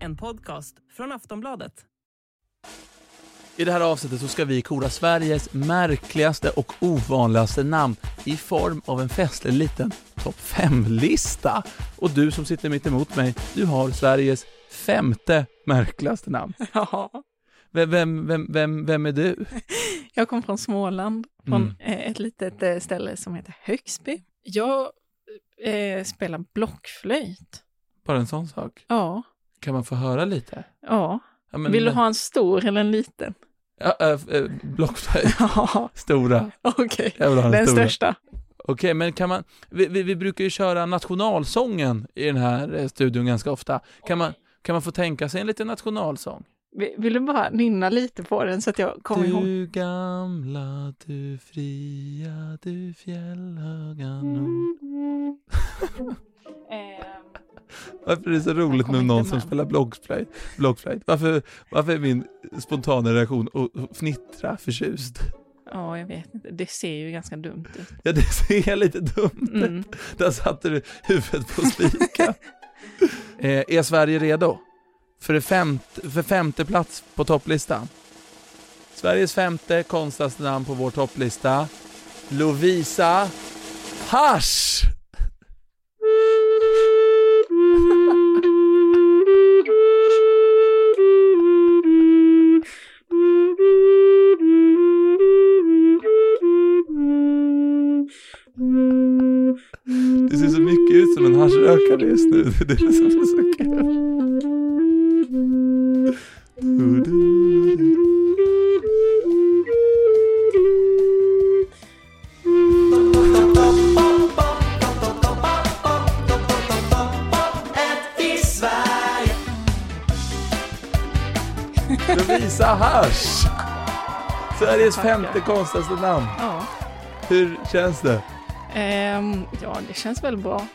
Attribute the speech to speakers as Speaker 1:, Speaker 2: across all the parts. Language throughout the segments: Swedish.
Speaker 1: En podcast från Aftonbladet.
Speaker 2: I det här avsnittet så ska vi koda Sveriges märkligaste och ovanligaste namn i form av en festlig liten topp 5-lista. Och du som sitter mitt emot mig, du har Sveriges femte märkligaste namn.
Speaker 1: Ja,
Speaker 2: Vem, vem, vem, vem, vem är du?
Speaker 1: jag kom från Småland, från
Speaker 2: Mm.
Speaker 1: eh, ett litet eh, ställe som heter Högsby. Jag eh, spelar blockflöjt.
Speaker 2: Bara en sån sak.
Speaker 1: Ja,
Speaker 2: Kan man få höra lite?
Speaker 1: ja.
Speaker 2: Ja, men-
Speaker 1: Vill du ha en stor eller en liten?
Speaker 2: Ja, äh, äh, blockflöjt.
Speaker 1: Ja,
Speaker 2: Stora.
Speaker 1: okej.
Speaker 2: Jag vill ha den,
Speaker 1: Den
Speaker 2: stora.
Speaker 1: största.
Speaker 2: Okej, men kan man, vi, vi, vi brukar ju köra nationalsången i den här eh, studion ganska ofta. Kan man, kan man få tänka sig en liten nationalsång?
Speaker 1: Vi- Vill du bara nynna lite på den så att jag kommer ihåg?
Speaker 2: Du gamla, du fria, du fjällhöga nord
Speaker 1: Ehm,
Speaker 2: Varför är det så roligt
Speaker 1: Mm. kommer
Speaker 2: med någon
Speaker 1: inte
Speaker 2: som
Speaker 1: med.
Speaker 2: spelar blockflöjt? blockflöjt? Varför, varför är min spontana reaktion att fnittra förtjust?
Speaker 1: Ja, jag vet inte. Det ser ju ganska dumt ut.
Speaker 2: Ja, det ser lite dumt ut.
Speaker 1: Mm.
Speaker 2: Där satte du huvudet på spiken. eh, är Sverige redo? För, det femte, för femte plats på topplistan. Sveriges femte konstigaste namn på vår topplista. Lovisa Hasch! Det ser så mycket ut som en haschrökare just nu. Det är det som är så kul. Lovisa Hasch! Sveriges femte konstigaste namn.
Speaker 1: Ja.
Speaker 2: Hur känns det?
Speaker 1: Ehm, ja, det känns väl bra.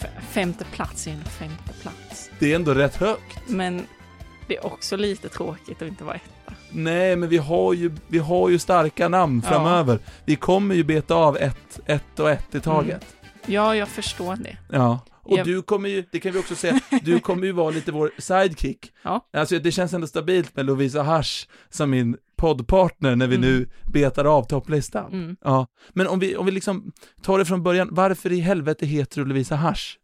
Speaker 1: F- femte plats är en femte plats.
Speaker 2: Det är ändå rätt högt.
Speaker 1: Men det är också lite tråkigt att inte vara etta.
Speaker 2: Nej, men vi har ju, vi har ju starka namn
Speaker 1: Ja.
Speaker 2: framöver. Vi kommer ju beta av ett, ett och ett i taget.
Speaker 1: Ja, jag förstår det.
Speaker 2: Ja. Och
Speaker 1: Jag-
Speaker 2: du kommer ju, det kan vi också säga, du kommer ju vara lite vår sidekick.
Speaker 1: Ja.
Speaker 2: Alltså det känns ändå stabilt med Lovisa Hasch som min poddpartner när vi
Speaker 1: Mm.
Speaker 2: nu betar av topplistan.
Speaker 1: Mm.
Speaker 2: Ja. Men om vi, om vi liksom tar det från början, varför i helvete heter du Lovisa Hasch?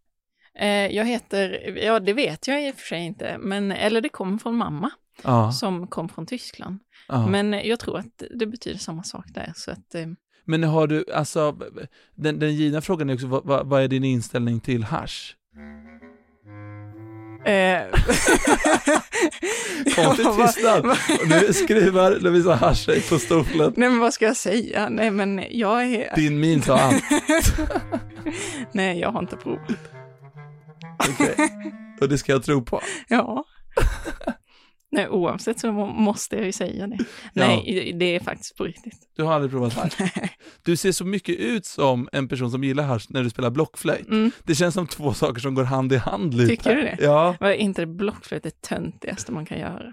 Speaker 1: Eh, jag heter, ja det vet jag i och för sig inte, men eller det kom från mamma
Speaker 2: Ja.
Speaker 1: som kom från Tyskland.
Speaker 2: ja. Men...
Speaker 1: Men jag tror att det betyder samma sak där, så att eh,
Speaker 2: har du, alltså, den, den givna frågan är också, vad, vad, vad är din inställning till hasch?
Speaker 1: Eh.
Speaker 2: Konstig
Speaker 1: Ja, vad-
Speaker 2: tystnad.
Speaker 1: vad-
Speaker 2: Och nu skriver Lovisa Hasch sig på stolen.
Speaker 1: Nej men vad ska jag säga? Nej men jag är...
Speaker 2: Din min sa han.
Speaker 1: Nej jag har inte provat.
Speaker 2: Okej. Och det ska jag tro på.
Speaker 1: Ja. Nej oavsett så må- måste jag ju säga det. Nej det är faktiskt på riktigt.
Speaker 2: Du har aldrig provat hasch. Du ser så mycket ut som en person som gillar hasch när du spelar blockflöjt.
Speaker 1: Mm.
Speaker 2: Det känns som två saker som går hand i hand lite.
Speaker 1: Tycker du det?
Speaker 2: Ja,
Speaker 1: Var inte det blockflöjt det töntigaste man kan göra?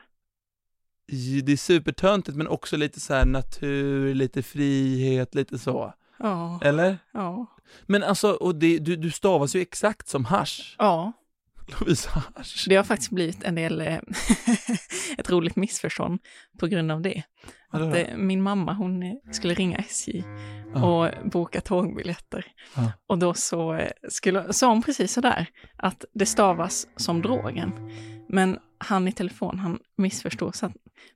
Speaker 2: det är supertöntigt men också lite så här natur, lite frihet, lite så.
Speaker 1: Ja.
Speaker 2: Eller?
Speaker 1: Ja.
Speaker 2: Men alltså, och det, du, du stavas ju exakt som hasch.
Speaker 1: Ja.
Speaker 2: Lovisa Hasch.
Speaker 1: Det har faktiskt blivit en del, eh, ett roligt missförstånd på grund av det.
Speaker 2: Vadå då?
Speaker 1: att eh, min mamma hon eh, skulle ringa SJ
Speaker 2: Ja.
Speaker 1: och boka tågbiljetter.
Speaker 2: Ja.
Speaker 1: Och då så eh, skulle, sa hon precis sådär, att det stavas som drogen. Men han i telefon, han missförstod så att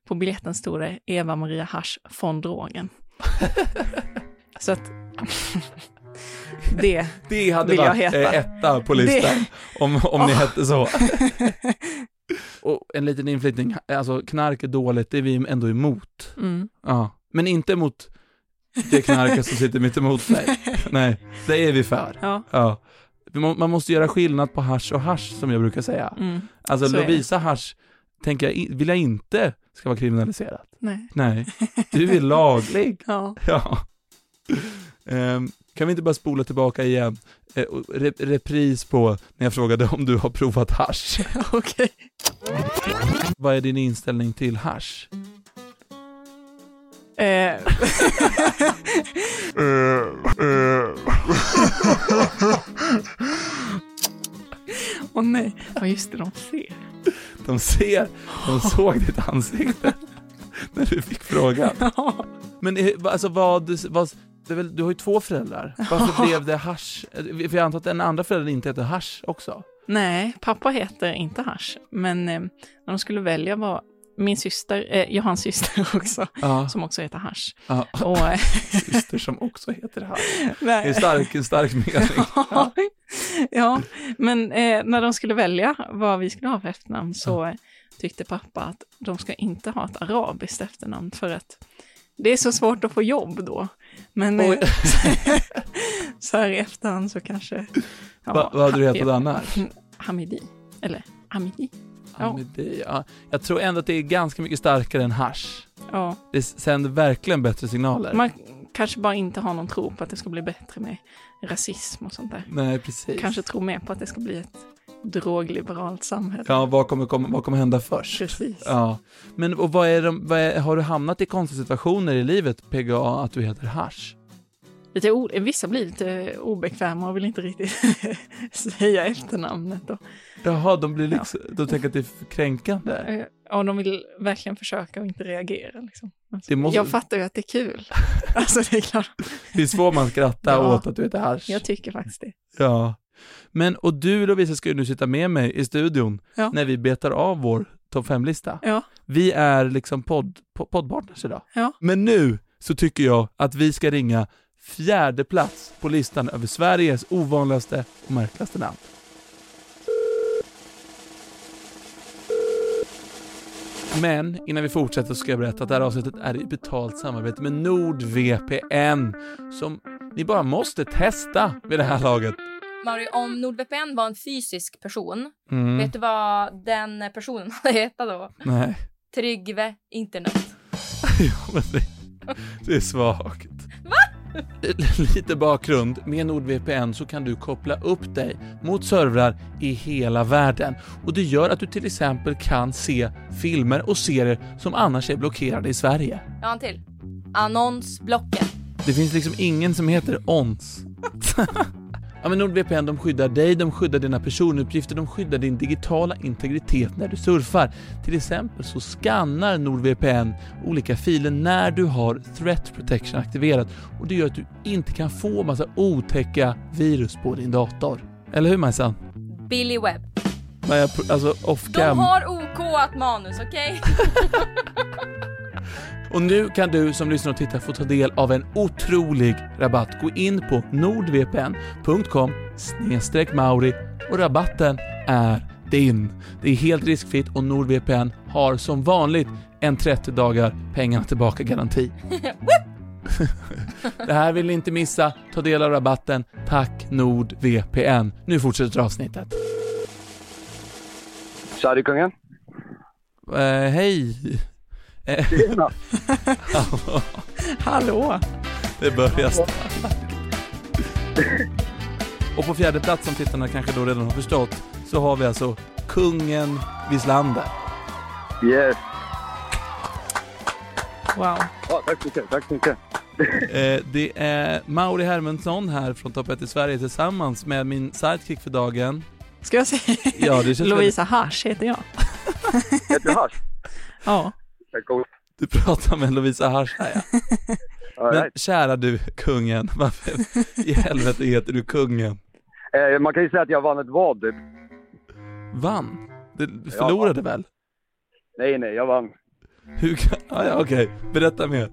Speaker 1: på biljetten stod det Eva Maria Hasch från drogen. så att det,
Speaker 2: Det hade
Speaker 1: Vill jag
Speaker 2: varit
Speaker 1: heta.
Speaker 2: eh, etta på listan, om, om ni hette så. Och en liten inflytning, alltså knark är dåligt, det är vi ändå emot.
Speaker 1: mm.
Speaker 2: Ja. Men inte emot det knarket som sitter mitt emot mig. Nej, det är vi för.
Speaker 1: Ja.
Speaker 2: Ja. Vi må- Man måste göra skillnad på hasch och hasch som jag brukar säga.
Speaker 1: Mm.
Speaker 2: Alltså
Speaker 1: Så är det.
Speaker 2: Lovisa hasch tänker jag, i- vill jag inte ska vara kriminaliserat.
Speaker 1: Nej.
Speaker 2: Nej, du är laglig.
Speaker 1: Ja.
Speaker 2: Ja. Ehm, kan vi inte bara spola tillbaka igen? Eh, och re- repris på när jag frågade om du har provat hasch.
Speaker 1: Okej.
Speaker 2: Vad är din inställning till hasch?
Speaker 1: Eh, Åh nej. Ja just det, de ser.
Speaker 2: De ser, de såg ditt ansikte när du fick frågan.
Speaker 1: Ja.
Speaker 2: Men eh, va- alltså vad, vad det är väl, du har ju två föräldrar. Varför blev det hasch? För jag antar att den andra föräldern inte heter hasch också?
Speaker 1: Nej, pappa heter inte Hasch, men eh, när de skulle välja var min syster, eh, jag har en syster också,
Speaker 2: Ja.
Speaker 1: som också heter Hasch.
Speaker 2: ja.
Speaker 1: Och, eh,
Speaker 2: Syster som också heter hasch. Det är
Speaker 1: nej.
Speaker 2: en stark, en stark mening.
Speaker 1: Ja. ja, men eh, när de skulle välja vad vi skulle ha för efternamn så eh, tyckte pappa att de ska inte ha ett arabiskt efternamn för att det är så svårt att få jobb då. Men eh,
Speaker 2: Oj.
Speaker 1: så här i efterhand så kanske... ja,
Speaker 2: Va, vad hade du hetat
Speaker 1: ja,
Speaker 2: annars?
Speaker 1: Hamidi, eller Hamidi.
Speaker 2: Ja. men det- ja. Jag tror ändå att det är ganska mycket starkare än hasch.
Speaker 1: Ja,
Speaker 2: Det sänder verkligen bättre signaler.
Speaker 1: man kanske bara inte har någon tro på att det ska bli bättre med rasism och sånt där.
Speaker 2: Nej, precis.
Speaker 1: Kanske tror mer på att det ska bli ett drogliberalt samhälle.
Speaker 2: Ja, vad kommer, kom, vad kommer hända först?
Speaker 1: Precis.
Speaker 2: Ja. Men och vad är de, vad är, har du hamnat i konstiga situationer i livet, PGA, att du heter hasch?
Speaker 1: lite o- vissa blir lite eh, obekväma och vill inte riktigt säga efternamnet. Då.
Speaker 2: Jaha, de blir liksom, de tänker att det är kränkande.
Speaker 1: Eh, Ja, de vill verkligen försöka och inte reagera. Liksom. Alltså,
Speaker 2: Det måste-
Speaker 1: Jag fattar ju att det är kul. Alltså det är klart,
Speaker 2: Visst får man skratta
Speaker 1: Ja.
Speaker 2: åt att du heter hasch?
Speaker 1: jag tycker faktiskt det.
Speaker 2: Ja. Men, och du Lovisa ska ju nu sitta med mig i studion
Speaker 1: Ja.
Speaker 2: när vi betar av vår topp 5-lista.
Speaker 1: Ja.
Speaker 2: Vi är liksom podd, po- poddpartners idag.
Speaker 1: Ja.
Speaker 2: Men nu så tycker jag att vi ska ringa fjärde plats på listan över Sveriges ovanligaste och märkligaste namn. Men innan vi fortsätter så ska jag berätta att det här avsnittet är i betalt samarbete med NordVPN som ni bara måste testa vid det här laget.
Speaker 3: Mario, om NordVPN var en fysisk person,
Speaker 2: Mm,
Speaker 3: vet du vad den personen hade hetat då?
Speaker 2: Nej.
Speaker 3: Tryggve internet.
Speaker 2: Jo, men det, det är svagt. Lite bakgrund. Med NordVPN så kan du koppla upp dig mot servrar i hela världen. Och det gör att du till exempel kan se filmer och serier som annars är blockerade i Sverige.
Speaker 3: Jag har en till. Annonsblocket.
Speaker 2: Det finns liksom ingen som heter ONS. ja, men NordVPN de skyddar dig, de skyddar dina personuppgifter, de skyddar din digitala integritet när du surfar. Till exempel så skannar NordVPN olika filer när du har threat protection aktiverat och det gör att du inte kan få massa otäcka virus på din dator. Eller hur Majsan?
Speaker 3: Billy Webb.
Speaker 2: Nej, jag pr- Alltså off
Speaker 3: De
Speaker 2: cam.
Speaker 3: har OK-at manus, okej?
Speaker 2: Och nu kan du som lyssnar och tittar få ta del av en otrolig rabatt. Gå in på nordvpn.com mauri och rabatten är din. Det är helt riskfritt och NordVPN har som vanligt en 30 dagar pengarna tillbaka-garanti. Det här vill ni inte missa. Ta del av rabatten. Tack NordVPN. Nu fortsätter avsnittet.
Speaker 4: Tja, kungen.
Speaker 2: Eh, hej! Eh,
Speaker 4: Tjena.
Speaker 1: Hallå!
Speaker 2: Det börjar starkt. Och på fjärde plats som tittarna kanske då redan har förstått så har vi alltså kungen Wislander.
Speaker 4: Yes.
Speaker 1: Wow.
Speaker 4: Ja, tack så mycket. Tack så mycket.
Speaker 2: Eh, det är Mauri Hermundsson här från Topp 1 i Sverige tillsammans med min sidekick för dagen.
Speaker 1: Ska jag säga?
Speaker 2: Ja, det känns väldigt-
Speaker 1: Lovisa Hasch heter jag.
Speaker 4: Heter du Hasch?
Speaker 1: Ja.
Speaker 4: Tack god.
Speaker 2: Du pratar med Lovisa Harsch här ja.
Speaker 4: All
Speaker 2: Men
Speaker 4: right.
Speaker 2: kära du kungen, varför i helvete heter du kungen?
Speaker 4: eh, man kan ju säga att jag vann ett vad typ.
Speaker 2: Vann? Du förlorade väl?
Speaker 4: Nej, nej, jag vann.
Speaker 2: Hur kan... Ah, ja, okej. Berätta mer.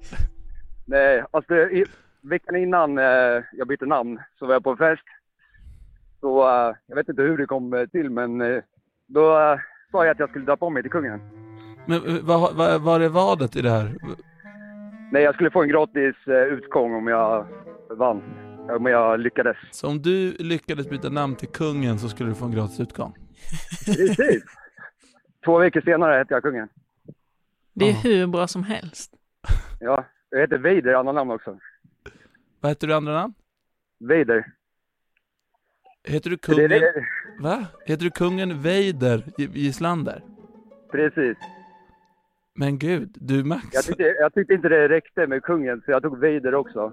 Speaker 4: Nej, alltså i, veckan innan eh, jag bytte namn så var jag på en fest. Så eh, jag vet inte hur det kom eh, till, men eh, då eh, sa jag att jag skulle döpa om mig till kungen.
Speaker 2: Men eh, vad, vad, vad är vadet i det här?
Speaker 4: Nej, jag skulle få en gratis eh, utgång om jag vann. Ja, Men jag lyckades.
Speaker 2: Så om du lyckades byta namn till kungen så skulle du få en gratis utgång.
Speaker 4: Precis! Två veckor senare hette jag kungen.
Speaker 1: Det är
Speaker 2: Ja.
Speaker 1: hur bra som helst.
Speaker 4: Ja, jag heter Vader i andra namn också.
Speaker 2: Vad heter du i andra namn?
Speaker 4: Vader.
Speaker 2: Heter du
Speaker 4: Det är
Speaker 2: kungen...
Speaker 4: det.
Speaker 2: Va? Heter du kungen Vader Gi- Gislander?
Speaker 4: Precis.
Speaker 2: Men gud, du Max.
Speaker 4: Jag tyckte, jag tyckte inte det räckte med kungen, så jag tog Vader också.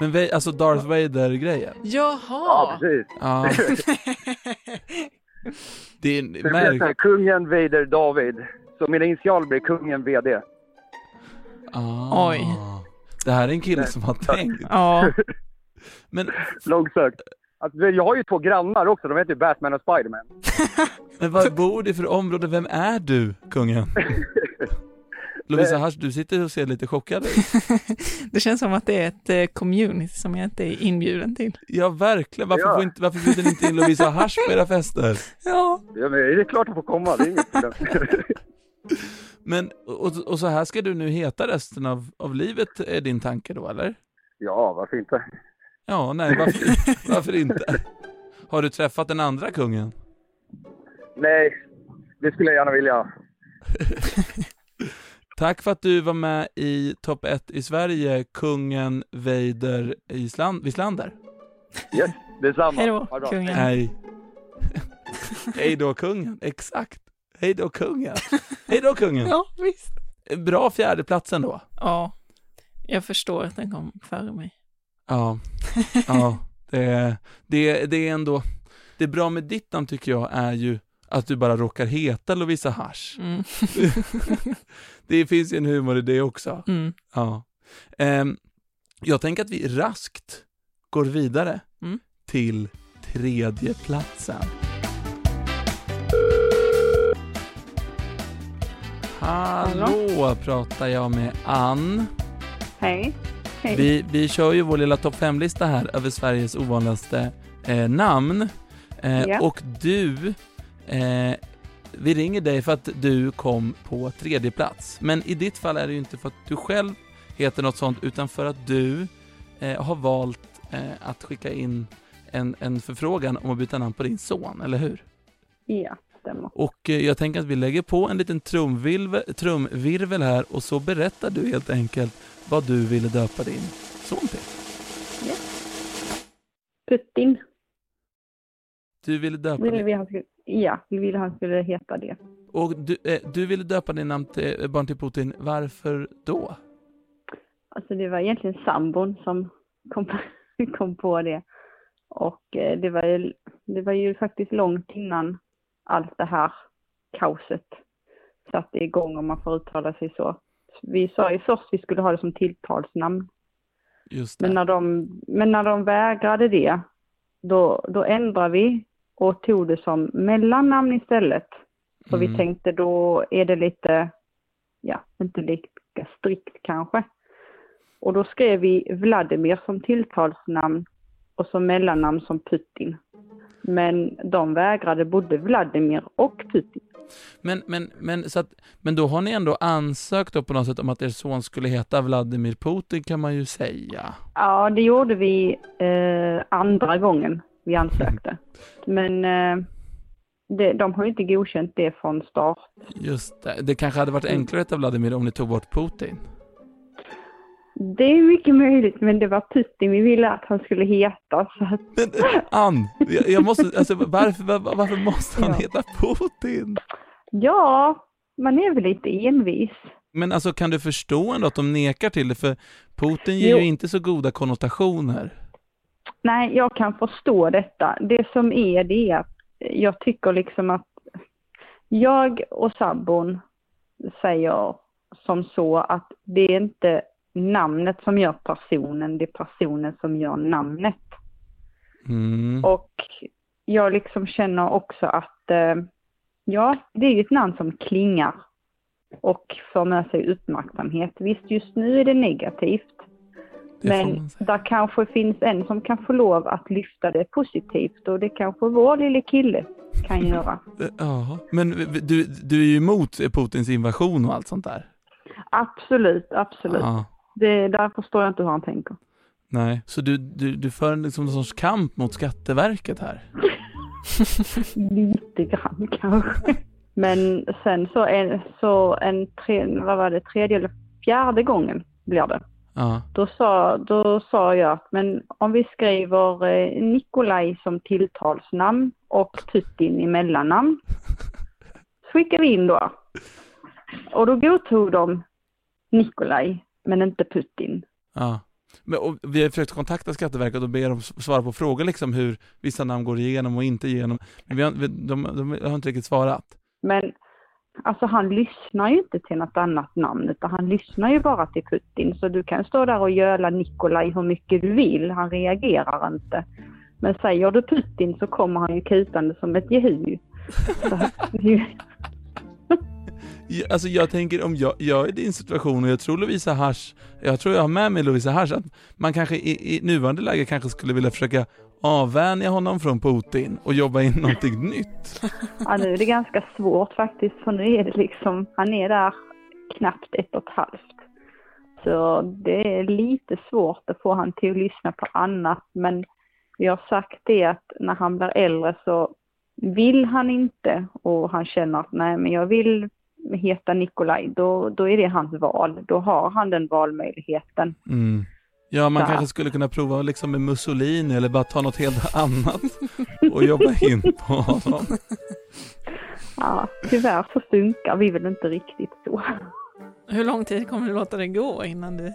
Speaker 2: Men Va- alltså Darth Vader-grejen.
Speaker 4: Ja,
Speaker 1: Jaha!
Speaker 4: precis.
Speaker 2: Ja. det är en
Speaker 4: Så det blev så här,
Speaker 2: märk...
Speaker 4: kungen Vader David. Så mina initialer blir kungen VD.
Speaker 2: Ah.
Speaker 1: Oj.
Speaker 2: Det här är en kille som har tänkt.
Speaker 1: Ja,
Speaker 2: Men,
Speaker 4: Långsökt. Alltså, jag har ju två grannar också, de heter ju Batman och Spiderman.
Speaker 2: men vad bor du för område? Vem är du, kungen? Lovisa Hasch, du sitter och ser lite chockad ut.
Speaker 1: det känns som att det är ett eh, community som jag inte är inbjuden till.
Speaker 2: Ja, verkligen. Varför,
Speaker 4: Ja.
Speaker 2: får inte, varför bjuder ni inte in Lovisa Hasch på era fester?
Speaker 1: Ja,
Speaker 4: Ja, men det är klart att få komma, det är inget problem.
Speaker 2: Men, och, och så här ska du nu heta resten av, av livet, är din tanke då, eller?
Speaker 4: Ja, varför inte?
Speaker 2: Ja, nej, varför, varför inte? Har du träffat den andra kungen?
Speaker 4: Nej, det skulle jag gärna vilja.
Speaker 2: Tack för att du var med i topp 1 i Sverige, kungen Vader Island, Wislander.
Speaker 4: Yes, detsamma.
Speaker 1: hej
Speaker 4: Ha
Speaker 1: då,
Speaker 4: det bra.
Speaker 1: kungen.
Speaker 2: Nej. Hej då kungen, exakt. Hej då kungen. Hej då kungen.
Speaker 1: Ja, visst.
Speaker 2: Bra fjärdeplatsen då.
Speaker 1: Ja, jag förstår att den kom före mig.
Speaker 2: Ja, ja, det, det, det är ändå, det bra med ditt namn tycker jag är ju att du bara råkar heta Lovisa Hasch.
Speaker 1: Mm.
Speaker 2: Det finns ju en humor i det också.
Speaker 1: Mm.
Speaker 2: Ja. Ehm, jag tänker att vi raskt går vidare
Speaker 1: Mm.
Speaker 2: till tredje platsen. Hallå, pratar jag med Ann.
Speaker 5: Hej. Hej.
Speaker 2: Vi, vi kör ju vår lilla topp 5-lista här över Sveriges ovanligaste eh, namn. Eh,
Speaker 5: Ja.
Speaker 2: Och du, eh, vi ringer dig för att du kom på tredje plats. Men i ditt fall är det ju inte för att du själv heter något sånt, utan för att du eh, har valt eh, att skicka in en, en förfrågan om att byta namn på din son, eller hur?
Speaker 5: Ja, stämmer.
Speaker 2: Och eh, jag tänker att vi lägger på en liten trumvilve, trumvirvel här och så berättar du helt enkelt vad du ville döpa din son till.
Speaker 5: Putin
Speaker 2: Du ville döpa,
Speaker 5: ville
Speaker 2: din,
Speaker 5: vi han skulle, ja, vi ville han skulle heta det.
Speaker 2: och du, eh, du ville döpa din namn till, eh, barn till Putin. Varför då?
Speaker 5: Alltså det var egentligen sambon som kom, på- kom på det. Och eh, det var, ju, det var ju faktiskt långt innan allt det här kaoset satte igång om man får uttala sig så. Vi sa ju först vi skulle ha det som tilltalsnamn.
Speaker 2: Just det.
Speaker 5: Men när de, men när de vägrade det, då, då ändrade vi och tog det som mellannamn istället. För
Speaker 2: Mm.
Speaker 5: vi tänkte då är det lite, ja, inte lika strikt kanske. Och då skrev vi Vladimir som tilltalsnamn och som mellannamn som Putin. Men de vägrade både Vladimir och Putin.
Speaker 2: Men, men, men, så att, men då har ni ändå ansökt då på något sätt om att er son skulle heta Vladimir Putin kan man ju säga.
Speaker 5: Ja, det gjorde vi eh, andra gången vi ansökte. Men eh, det, de har ju inte godkänt det från start.
Speaker 2: Just det. Det kanske hade varit enklare att heta Vladimir om ni tog bort Putin.
Speaker 5: Det är mycket möjligt, men det var Putin vi ville att han skulle heta. Så att,
Speaker 2: Men eh, Ann, jag, jag måste, alltså, varför, var, varför måste han
Speaker 5: Ja.
Speaker 2: heta Putin?
Speaker 5: ja, man är väl lite envis.
Speaker 2: Men alltså kan du förstå ändå att de nekar till det? För Putin ger
Speaker 5: Jo.
Speaker 2: ju inte så goda konnotationer.
Speaker 5: Nej, jag kan förstå detta. Det som är det är att jag tycker liksom att jag och sambon säger som så att det är inte namnet som gör personen, det är personen som gör namnet.
Speaker 2: Mm.
Speaker 5: Och jag liksom känner också att eh, ja, det är ju ett namn som klingar och för med sig uppmärksamhet. Visst, just nu är det negativt,
Speaker 2: Det får
Speaker 5: men
Speaker 2: man säga.
Speaker 5: där kanske finns en som kan få lov att lyfta det positivt och det kanske vår lille kille kan göra.
Speaker 2: Eh, Ja, men v- v- du, du är ju emot Putins invasion och allt sånt där.
Speaker 5: Absolut, absolut.
Speaker 2: Ja.
Speaker 5: Det, där förstår jag inte hur han tänker.
Speaker 2: Nej. Så du, du, du för en liksom någon sorts kamp mot Skatteverket här?
Speaker 5: Lite grann kanske. Men sen så en, så en tre, vad var det, tredje eller fjärde gången blir det.
Speaker 2: Ja.
Speaker 5: Då sa, då sa jag att men om vi skriver eh, Nikolaj som tilltalsnamn och Tutin i mellannamn. Så skickar vi in då. Och då godtog de Nikolaj men inte Putin.
Speaker 2: ja. Men, och vi har försökt kontakta Skatteverket och be dem s- svara på frågor liksom hur vissa namn går igenom och inte igenom. Men vi har, vi, de, de har inte riktigt svarat.
Speaker 5: Men alltså han lyssnar ju inte till något annat namn utan han lyssnar ju bara till Putin. Så du kan stå där och göla Nikolaj hur mycket du vill, han reagerar inte. Men säger du Putin så kommer han ju kutande som ett jehu. Så att det är ju-
Speaker 2: Ja, Alltså jag tänker om jag, jag är i din situation och jag tror Lovisa Hasch, jag tror jag har med mig Lovisa Hasch, att man kanske i, i nuvarande läge kanske skulle vilja försöka avvänja honom från Putin och jobba in någonting nytt.
Speaker 5: Ja, nu är det ganska svårt faktiskt för nu är det liksom, han är där knappt ett och ett halvt. Så det är lite svårt att få han till att lyssna på annat men vi har sagt det att när han blir äldre så vill han inte och han känner att nej men jag vill heta Nikolaj, då, då är det hans val. Då har han den valmöjligheten.
Speaker 2: Mm. Ja, man
Speaker 5: Ja.
Speaker 2: kanske skulle kunna prova liksom med Mussolini eller bara ta något helt annat och jobba in på honom.
Speaker 5: Ja, tyvärr så funkar vi väl inte riktigt så.
Speaker 1: Hur lång tid kommer du låta det gå innan du...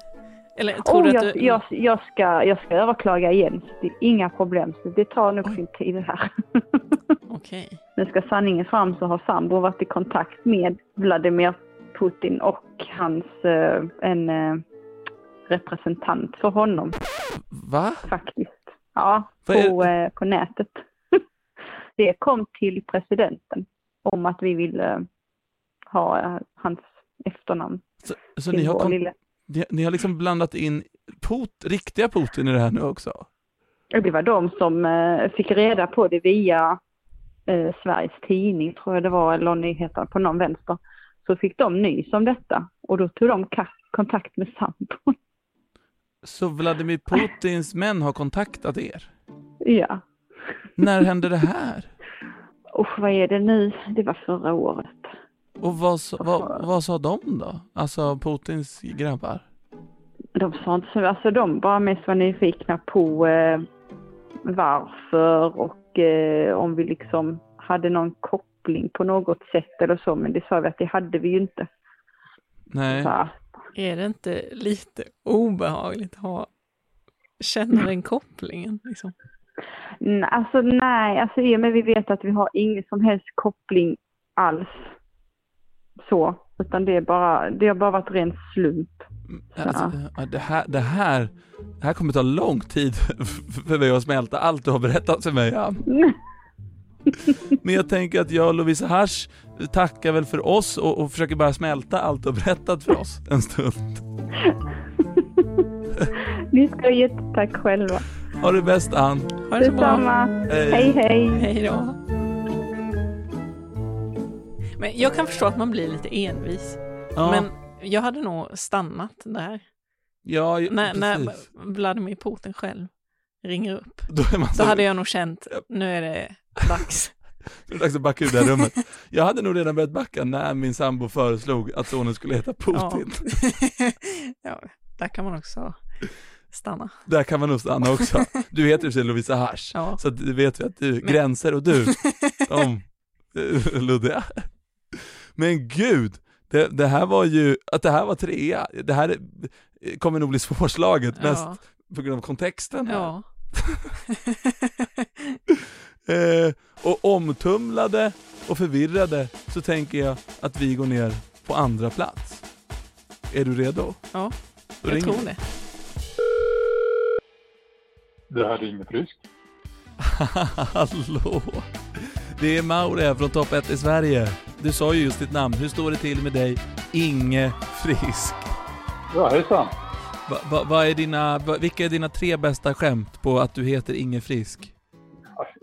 Speaker 1: Eller tror
Speaker 5: oh,
Speaker 1: du att
Speaker 5: jag,
Speaker 1: du...
Speaker 5: jag, jag, ska, jag ska överklaga igen. Så det är inga problem. Så det tar nog sin tid det här.
Speaker 1: Okej.
Speaker 5: Nu ska sanningen fram så har sambon varit i kontakt med Vladimir Putin och hans eh, en eh, representant för honom
Speaker 2: Va?
Speaker 5: faktiskt. Ja,
Speaker 2: Vad är-
Speaker 5: på, eh, på nätet. det kom till presidenten om att vi ville eh, ha eh, hans efternamn.
Speaker 2: Så, så
Speaker 5: till
Speaker 2: ni, har
Speaker 5: vår
Speaker 2: kom,
Speaker 5: lilla-
Speaker 2: ni, ni har liksom blandat in Put, riktiga Putin i det här nu också?
Speaker 5: Och Det var de som eh, fick reda på det via eh, Sveriges tidning tror jag det var, eller nyheter på någon vänster. Så fick de nys om detta och då tog de ka- kontakt med sambon.
Speaker 2: Så Vladimir Putins män har kontaktat er?
Speaker 5: ja.
Speaker 2: När hände det här?
Speaker 5: Usch, vad är det nu? Det var förra året.
Speaker 2: Och vad, sa- vad, vad sa de då? Alltså Putins grabbar?
Speaker 5: De sa inte så, alltså de bara mest var nyfikna på eh, varför och eh, om vi liksom hade någon koppling på något sätt eller så, men det sa vi att det hade vi ju inte.
Speaker 2: Nej.
Speaker 5: Så, här,
Speaker 1: Är det inte lite obehagligt att ha... känna den kopplingen? Liksom?
Speaker 5: Mm, Alltså nej, alltså i och med vi vet att vi har ingen som helst koppling alls. Så, utan det är bara, det har bara varit ren slump.
Speaker 2: Alltså, ja, det, här, det, här, det här kommer ta lång tid för mig att smälta allt du har berättat för mig, Ann. Men jag tänker att jag och Lovisa Hasch tackar väl för oss och, och försöker bara smälta allt du har berättat för oss en stund.
Speaker 5: Ni ska ha jättetack själva.
Speaker 2: Ha det bäst, Ann.
Speaker 1: Ha det så bra.
Speaker 5: Detsamma. Hej hej.
Speaker 1: Hej då. Men jag kan förstå att man blir lite envis.
Speaker 2: Ja,
Speaker 1: Men jag hade nog stannat där.
Speaker 2: ja ju-
Speaker 1: När, när
Speaker 2: precis.
Speaker 1: Vladimir Putin själv ringer upp.
Speaker 2: Då är man
Speaker 1: Då
Speaker 2: så,
Speaker 1: hade jag nog känt, nu är det dags.
Speaker 2: det är dags att backa ur det här rummet. Jag hade nog redan börjat backa när min sambo föreslog att sonen skulle heta
Speaker 1: Ja.
Speaker 2: Putin.
Speaker 1: ja, där kan man också stanna.
Speaker 2: Där kan man nog stanna också. Du heter ju sig Lovisa Hasch,
Speaker 1: Ja.
Speaker 2: så att det vet vi att du, gränser och du, de är luddiga. Men gud, det, det här var ju, att det här var trea, det här är- kommer nog bli svårslaget mest
Speaker 1: Ja,
Speaker 2: på grund av kontexten här.
Speaker 1: ja.
Speaker 2: Eh, och omtumlade och förvirrade så tänker jag att vi går ner på andra plats. Är du redo?
Speaker 1: Ja,
Speaker 2: Då
Speaker 1: jag
Speaker 2: ringer vi.
Speaker 1: tror det.
Speaker 6: Det här är Inge Frisk.
Speaker 2: Hallå! Det är Mauri här från Topp 1 i Sverige. Du sa ju just ditt namn. Hur står det till med dig, Inge Frisk?
Speaker 6: Ja, hejsan.
Speaker 2: Va, va, vad är dina, va, vilka är dina tre bästa skämt på att du heter Inge Frisk?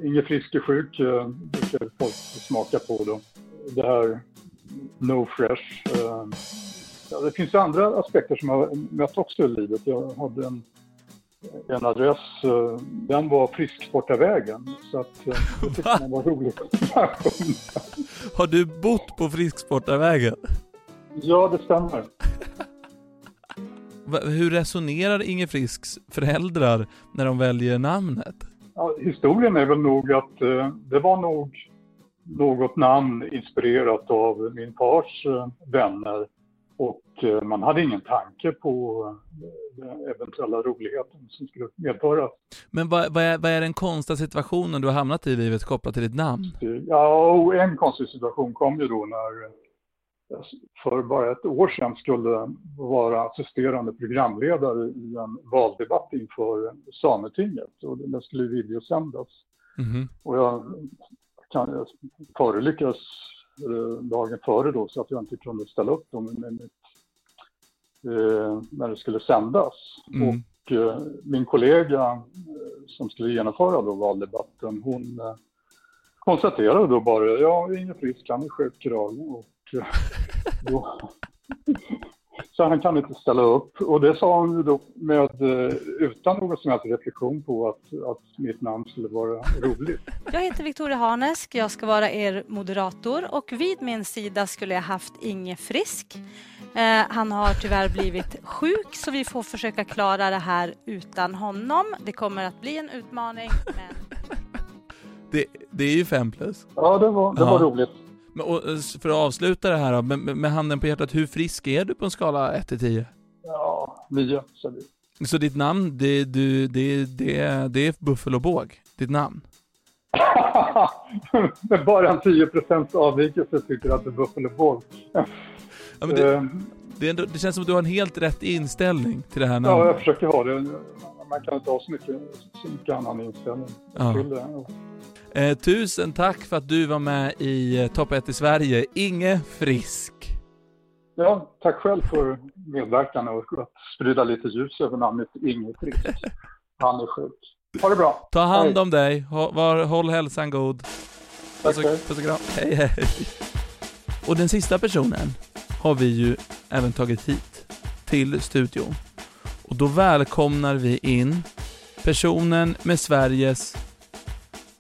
Speaker 6: Inge Frisk är sjuk, eh, brukar folk smaka på då. Det här No Fresh. eh, Ja, det finns andra aspekter som jag har mött också i livet. Jag hade en
Speaker 7: en adress, eh, den var Frisksportarvägen. Så att eh, det tyckte man var roligt.
Speaker 2: Har du bott på Frisksportarvägen?
Speaker 7: ja, det stämmer.
Speaker 2: Va- Hur resonerar Inger Frisks föräldrar när de väljer namnet?
Speaker 7: Ja, historien är väl nog att eh, det var nog något namn inspirerat av min fars eh, vänner. Och eh, man hade ingen tanke på eh, den eventuella roligheten som skulle medföra.
Speaker 2: Men vad, vad, är, vad är den konstiga situationen du har hamnat i i livet kopplat till ditt namn?
Speaker 7: Ja, och en konstig situation kom ju då när eh, för bara ett år sedan skulle vara assisterande programledare i en valdebatt inför Sametinget och den skulle videosändas.
Speaker 2: Mhm.
Speaker 7: Och jag, kan, jag förolyckades eh, dagen före då så att jag inte kunde ställa upp då med, med mitt, eh, när det skulle sändas.
Speaker 2: Mm.
Speaker 7: Och eh, min kollega eh, som skulle genomföra då valdebatten, hon eh, konstaterade då bara, ja, Inge Frisk, han är sjuk idag. Och, eh, då, så han kan inte ställa upp. Och det sa hon ju då med, eh, utan någon som helst reflektion på att, att mitt namn skulle vara roligt.
Speaker 8: Jag heter Victoria Harnesk, jag ska vara er moderator och vid min sida skulle jag haft Inge Frisk. Eh, han har tyvärr blivit sjuk så vi får försöka klara det här utan honom. Det kommer att bli en utmaning men
Speaker 2: Det, det är ju fem plus.
Speaker 7: Ja, det var, det
Speaker 2: Ja.
Speaker 7: var roligt.
Speaker 2: Men, och, eh, s- för att avsluta det här då, med, med- med handen på hjärtat, hur frisk är du på en skala 1 till 10?
Speaker 7: Ja, nio, sa vi.
Speaker 2: Så ditt namn, det, du, det, det, det är buffel och båg, ditt namn?
Speaker 7: Men Bara en 10 avvikelse tycker att det är buffel och båg.
Speaker 2: Ja, men det,
Speaker 7: Eh,
Speaker 2: det, är ändå, det känns som att du har en helt rätt inställning till det här
Speaker 7: ja, jag
Speaker 2: namnet.
Speaker 7: försöker ha det. Man kan inte ha så mycket, så mycket annan inställning
Speaker 2: Ja.
Speaker 7: till det.
Speaker 2: Eh, tusen tack för att du var med i eh, Topp 1 i Sverige, Inge Frisk.
Speaker 7: Ja, tack själv för medverkan och att sprida lite ljus över namnet Inge Frisk. Han är sjuk. Ha det bra.
Speaker 2: Ta hand
Speaker 7: Hej.
Speaker 2: om dig, Hå- var, håll hälsan god.
Speaker 7: Tack,
Speaker 2: Puss och-
Speaker 7: hej.
Speaker 2: puss och kram. Hej, hej. Och den sista personen har vi ju även tagit hit till studion. Och då välkomnar vi in personen med Sveriges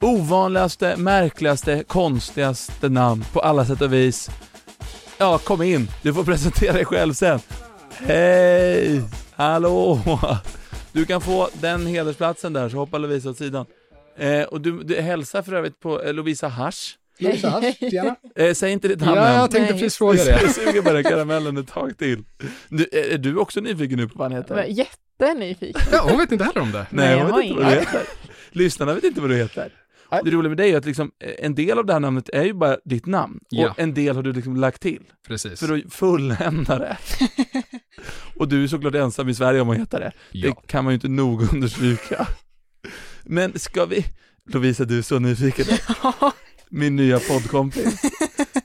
Speaker 2: ovanligaste, märkligaste, konstigaste namn på alla sätt och vis. Ja, kom in. Du får presentera dig själv sen. Hej! Hallå! Du kan få den hedersplatsen där, så hoppar Lovisa åt sidan. Eh, och du, du hälsar för övrigt på eh, Lovisa Hasch.
Speaker 9: Lovisa Hasch, gärna.
Speaker 2: Eh, säg inte ditt namn
Speaker 9: Ja,
Speaker 2: än.
Speaker 9: jag tänkte
Speaker 1: Nej.
Speaker 9: precis fråga det.
Speaker 2: Jag suger på den karamellen ett tag till. Du, eh, är är du också nyfiken nu på vad han heter?
Speaker 10: Jag är jättenyfiken.
Speaker 9: Ja, hon vet inte heller om det.
Speaker 2: Nej,
Speaker 10: jag
Speaker 2: jag
Speaker 10: har
Speaker 2: vet inte vad du
Speaker 10: ingen.
Speaker 2: heter. Lyssnarna vet inte vad du heter.
Speaker 9: Nej.
Speaker 2: Det roliga med dig är att liksom, eh, en del av det här namnet är ju bara ditt namn.
Speaker 9: Ja.
Speaker 2: Och en del har du liksom lagt till
Speaker 9: Precis.
Speaker 2: för att fullända det. och du är såklart ensam i Sverige om att heta det.
Speaker 9: Ja.
Speaker 2: Det kan man ju inte nog understryka. Men ska vi... Lovisa, du är så nyfiken. Min nya poddkompis.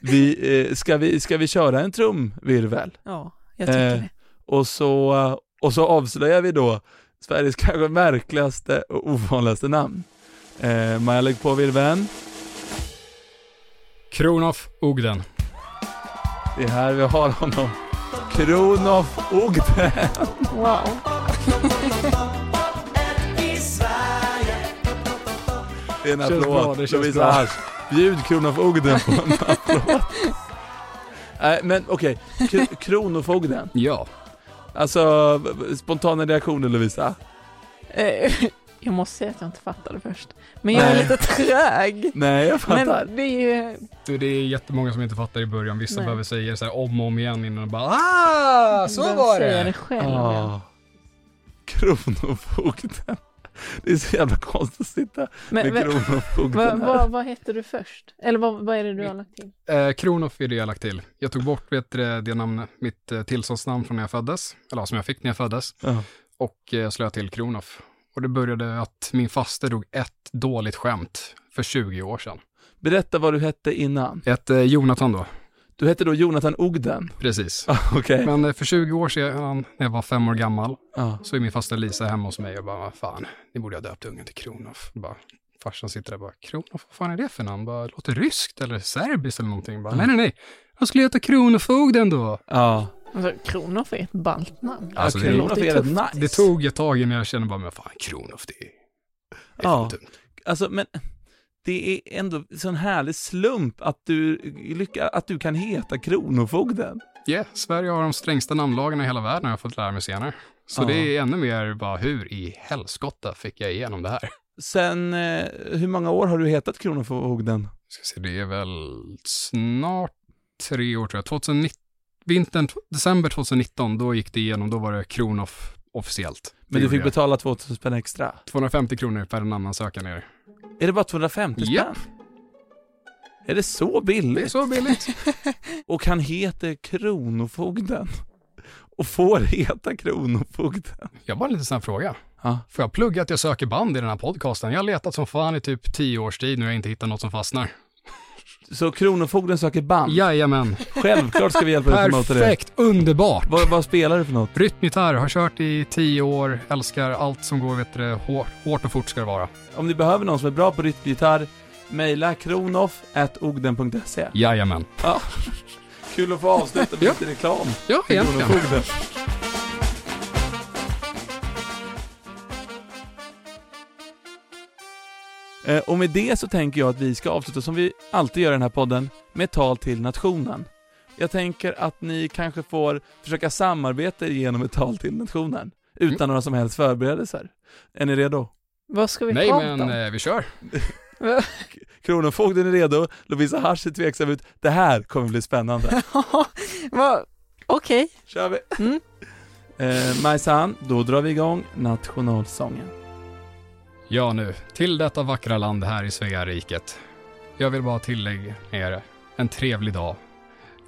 Speaker 2: Vi, eh, ska, vi, ska vi köra en trumvirvel?
Speaker 1: Ja, jag tycker
Speaker 2: Eh,
Speaker 1: det.
Speaker 2: Och så, och så avslöjar vi då Sveriges kanske märkligaste och ovanligaste namn. Eh, Maja, lägg på virveln.
Speaker 9: Kronoff Ogden.
Speaker 2: Det är här vi har honom. Kronoff Ogden.
Speaker 10: Wow.
Speaker 2: Det är en
Speaker 9: Känns
Speaker 2: applåd.
Speaker 9: bra, det känns
Speaker 2: Lovisa
Speaker 9: bra.
Speaker 2: Hasch. Bjud Kronofogden på en applåd. Nej, men okej. Kr- Kronofogden.
Speaker 9: Ja.
Speaker 2: Alltså, v- v- spontana reaktioner Lovisa.
Speaker 1: Eh, jag måste säga att jag inte fattade först. Men jag är
Speaker 2: Nej.
Speaker 1: lite trög.
Speaker 2: Nej, jag fattar.
Speaker 1: Men det är ju,
Speaker 9: Du, det är jättemånga som inte fattar i början. Vissa
Speaker 1: Nej.
Speaker 9: behöver säga så här om och om igen innan de bara ah, så
Speaker 1: vem
Speaker 9: var
Speaker 1: säger det
Speaker 9: det.
Speaker 1: själv?
Speaker 2: Ah. Kronofogden. Det är så jävla konstigt att sitta
Speaker 1: Men,
Speaker 2: med
Speaker 1: men vad,
Speaker 2: Kronofogden här.
Speaker 1: vad, vad heter du först? Eller vad, vad är det du har lagt till?
Speaker 9: Eh, Kronoff är det jag lagt till. Jag tog bort vet du, det, det namnet, mitt eh, tillståndsnamn från när jag föddes, eller ja, som jag fick när jag föddes,
Speaker 2: Ja.
Speaker 9: och eh, slöt till Kronoff. Och det började att min faster drog ett dåligt skämt för 20 år sedan.
Speaker 2: Berätta vad du hette innan.
Speaker 9: Ett eh, Jonathan då,
Speaker 2: Du hette då Jonathan Ogden.
Speaker 9: precis.
Speaker 2: Ah, Okej.
Speaker 9: Men eh, för 20 år sedan, när jag var fem år gammal,
Speaker 2: Ja.
Speaker 9: så är min faster Lisa hemma hos mig och bara, vad fan, ni borde ha döpt ungen till Kronoff. Bara, farsan sitter där och bara, Kronoff, vad fan är det för namn? Bara, låter ryskt eller serbiskt eller någonting. Bara, nej, nej, nej, han skulle heta Kronofogden då.
Speaker 2: Ja.
Speaker 11: Alltså, Kronoff är ett ballt namn.
Speaker 2: Ja, Kronoff Alltså, är rätt nice.
Speaker 7: Det tog ett tag innan jag kände bara, men fan Kronoff, det är... Det är
Speaker 2: Ja.
Speaker 7: fan dumt.
Speaker 2: Alltså, men det är ändå sån härlig slump att du, lycka, att du kan heta Kronofogden.
Speaker 7: Yeah, Sverige har de strängsta namnlagarna i hela världen har jag fått lära mig senare. Så
Speaker 2: Ja.
Speaker 7: det är ännu mer bara, hur i helskotta fick jag igenom det här?
Speaker 2: Sen, eh, hur många år har du hetat Kronofogden?
Speaker 7: Ska se, det är väl snart tre år tror jag. 2019, vintern, december 2019, då gick det igenom, då var det Kronoff officiellt. Det
Speaker 2: Men du
Speaker 7: gjorde
Speaker 2: fick
Speaker 7: jag.
Speaker 2: betala 2000 spänn extra.
Speaker 7: 250 kronor per namnansökan är det.
Speaker 2: Är det bara 250 spänn?
Speaker 7: Japp.
Speaker 2: Är det så
Speaker 7: Det är
Speaker 2: billigt?
Speaker 7: så billigt.
Speaker 2: Och han heter Kronofogden. Och får heta Kronofogden.
Speaker 7: Jag har bara en liten snabb fråga.
Speaker 2: Ja.
Speaker 7: Får jag plugga att jag söker band i den här podcasten? Jag har letat som fan i typ tio års tid nu och jag inte hittat något som fastnar.
Speaker 2: Så Kronofogden söker band?
Speaker 7: Jajamän.
Speaker 2: Självklart ska vi hjälpa dig att promota det.
Speaker 7: Perfekt, underbart.
Speaker 2: Vad, vad spelar du för något?
Speaker 7: Rytmgitarr, har kört i tio år, älskar allt som går vet du, det, hårt, hårt och fort ska det vara.
Speaker 2: Om ni behöver någon som är bra på rytmgitarr, mejla kronoff.ogden.se.
Speaker 7: Jajamän.
Speaker 2: Ja. Kul att få avsluta med
Speaker 7: Ja.
Speaker 2: lite reklam.
Speaker 7: Ja,
Speaker 2: för
Speaker 7: egentligen.
Speaker 2: Kronofogden. Eh, Och med det så tänker jag att vi ska avsluta, som vi alltid gör i den här podden, med ett tal till nationen. Jag tänker att ni kanske får försöka samarbeta genom ett tal till nationen, utan
Speaker 7: Mm.
Speaker 2: några som helst förberedelser. Är ni redo?
Speaker 11: Vad ska vi
Speaker 7: Nej,
Speaker 11: prata
Speaker 7: men
Speaker 11: om?
Speaker 7: eh, vi kör.
Speaker 2: Kronofogden är redo, Lovisa Hasch ser tveksam ut. Det här kommer bli spännande.
Speaker 11: Vad- Okej.
Speaker 2: kör vi!
Speaker 11: Mm.
Speaker 2: Eh, Majsan, då drar vi igång nationalsången.
Speaker 7: Ja nu, till detta vackra land här i Sveariket. Jag vill bara tillägga er en trevlig dag.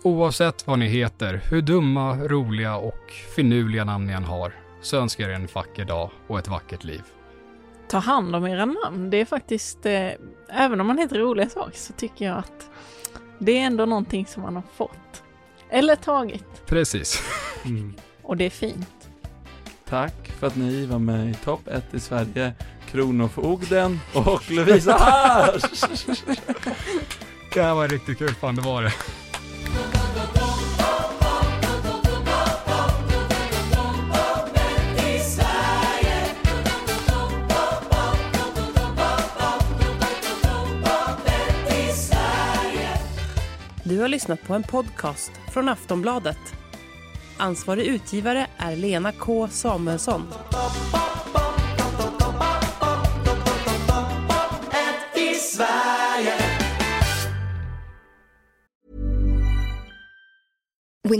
Speaker 7: Oavsett vad ni heter, hur dumma, roliga och finurliga namn ni än har, så önskar jag er en vacker dag och ett vackert liv.
Speaker 11: Ta hand om era namn. Det är faktiskt, eh, även om man heter roliga saker så tycker jag att det är ändå någonting som man har fått. Eller tagit.
Speaker 7: Precis.
Speaker 11: Och det är fint.
Speaker 2: Tack för att ni var med i topp 1 i Sverige, Kronofogden och Lovisa Hasch!
Speaker 7: Det här var riktigt kul, fan det var det.
Speaker 12: Du har lyssnat på en podcast från Aftonbladet. Ansvarig utgivare är Lena K Samuelsson.
Speaker 13: When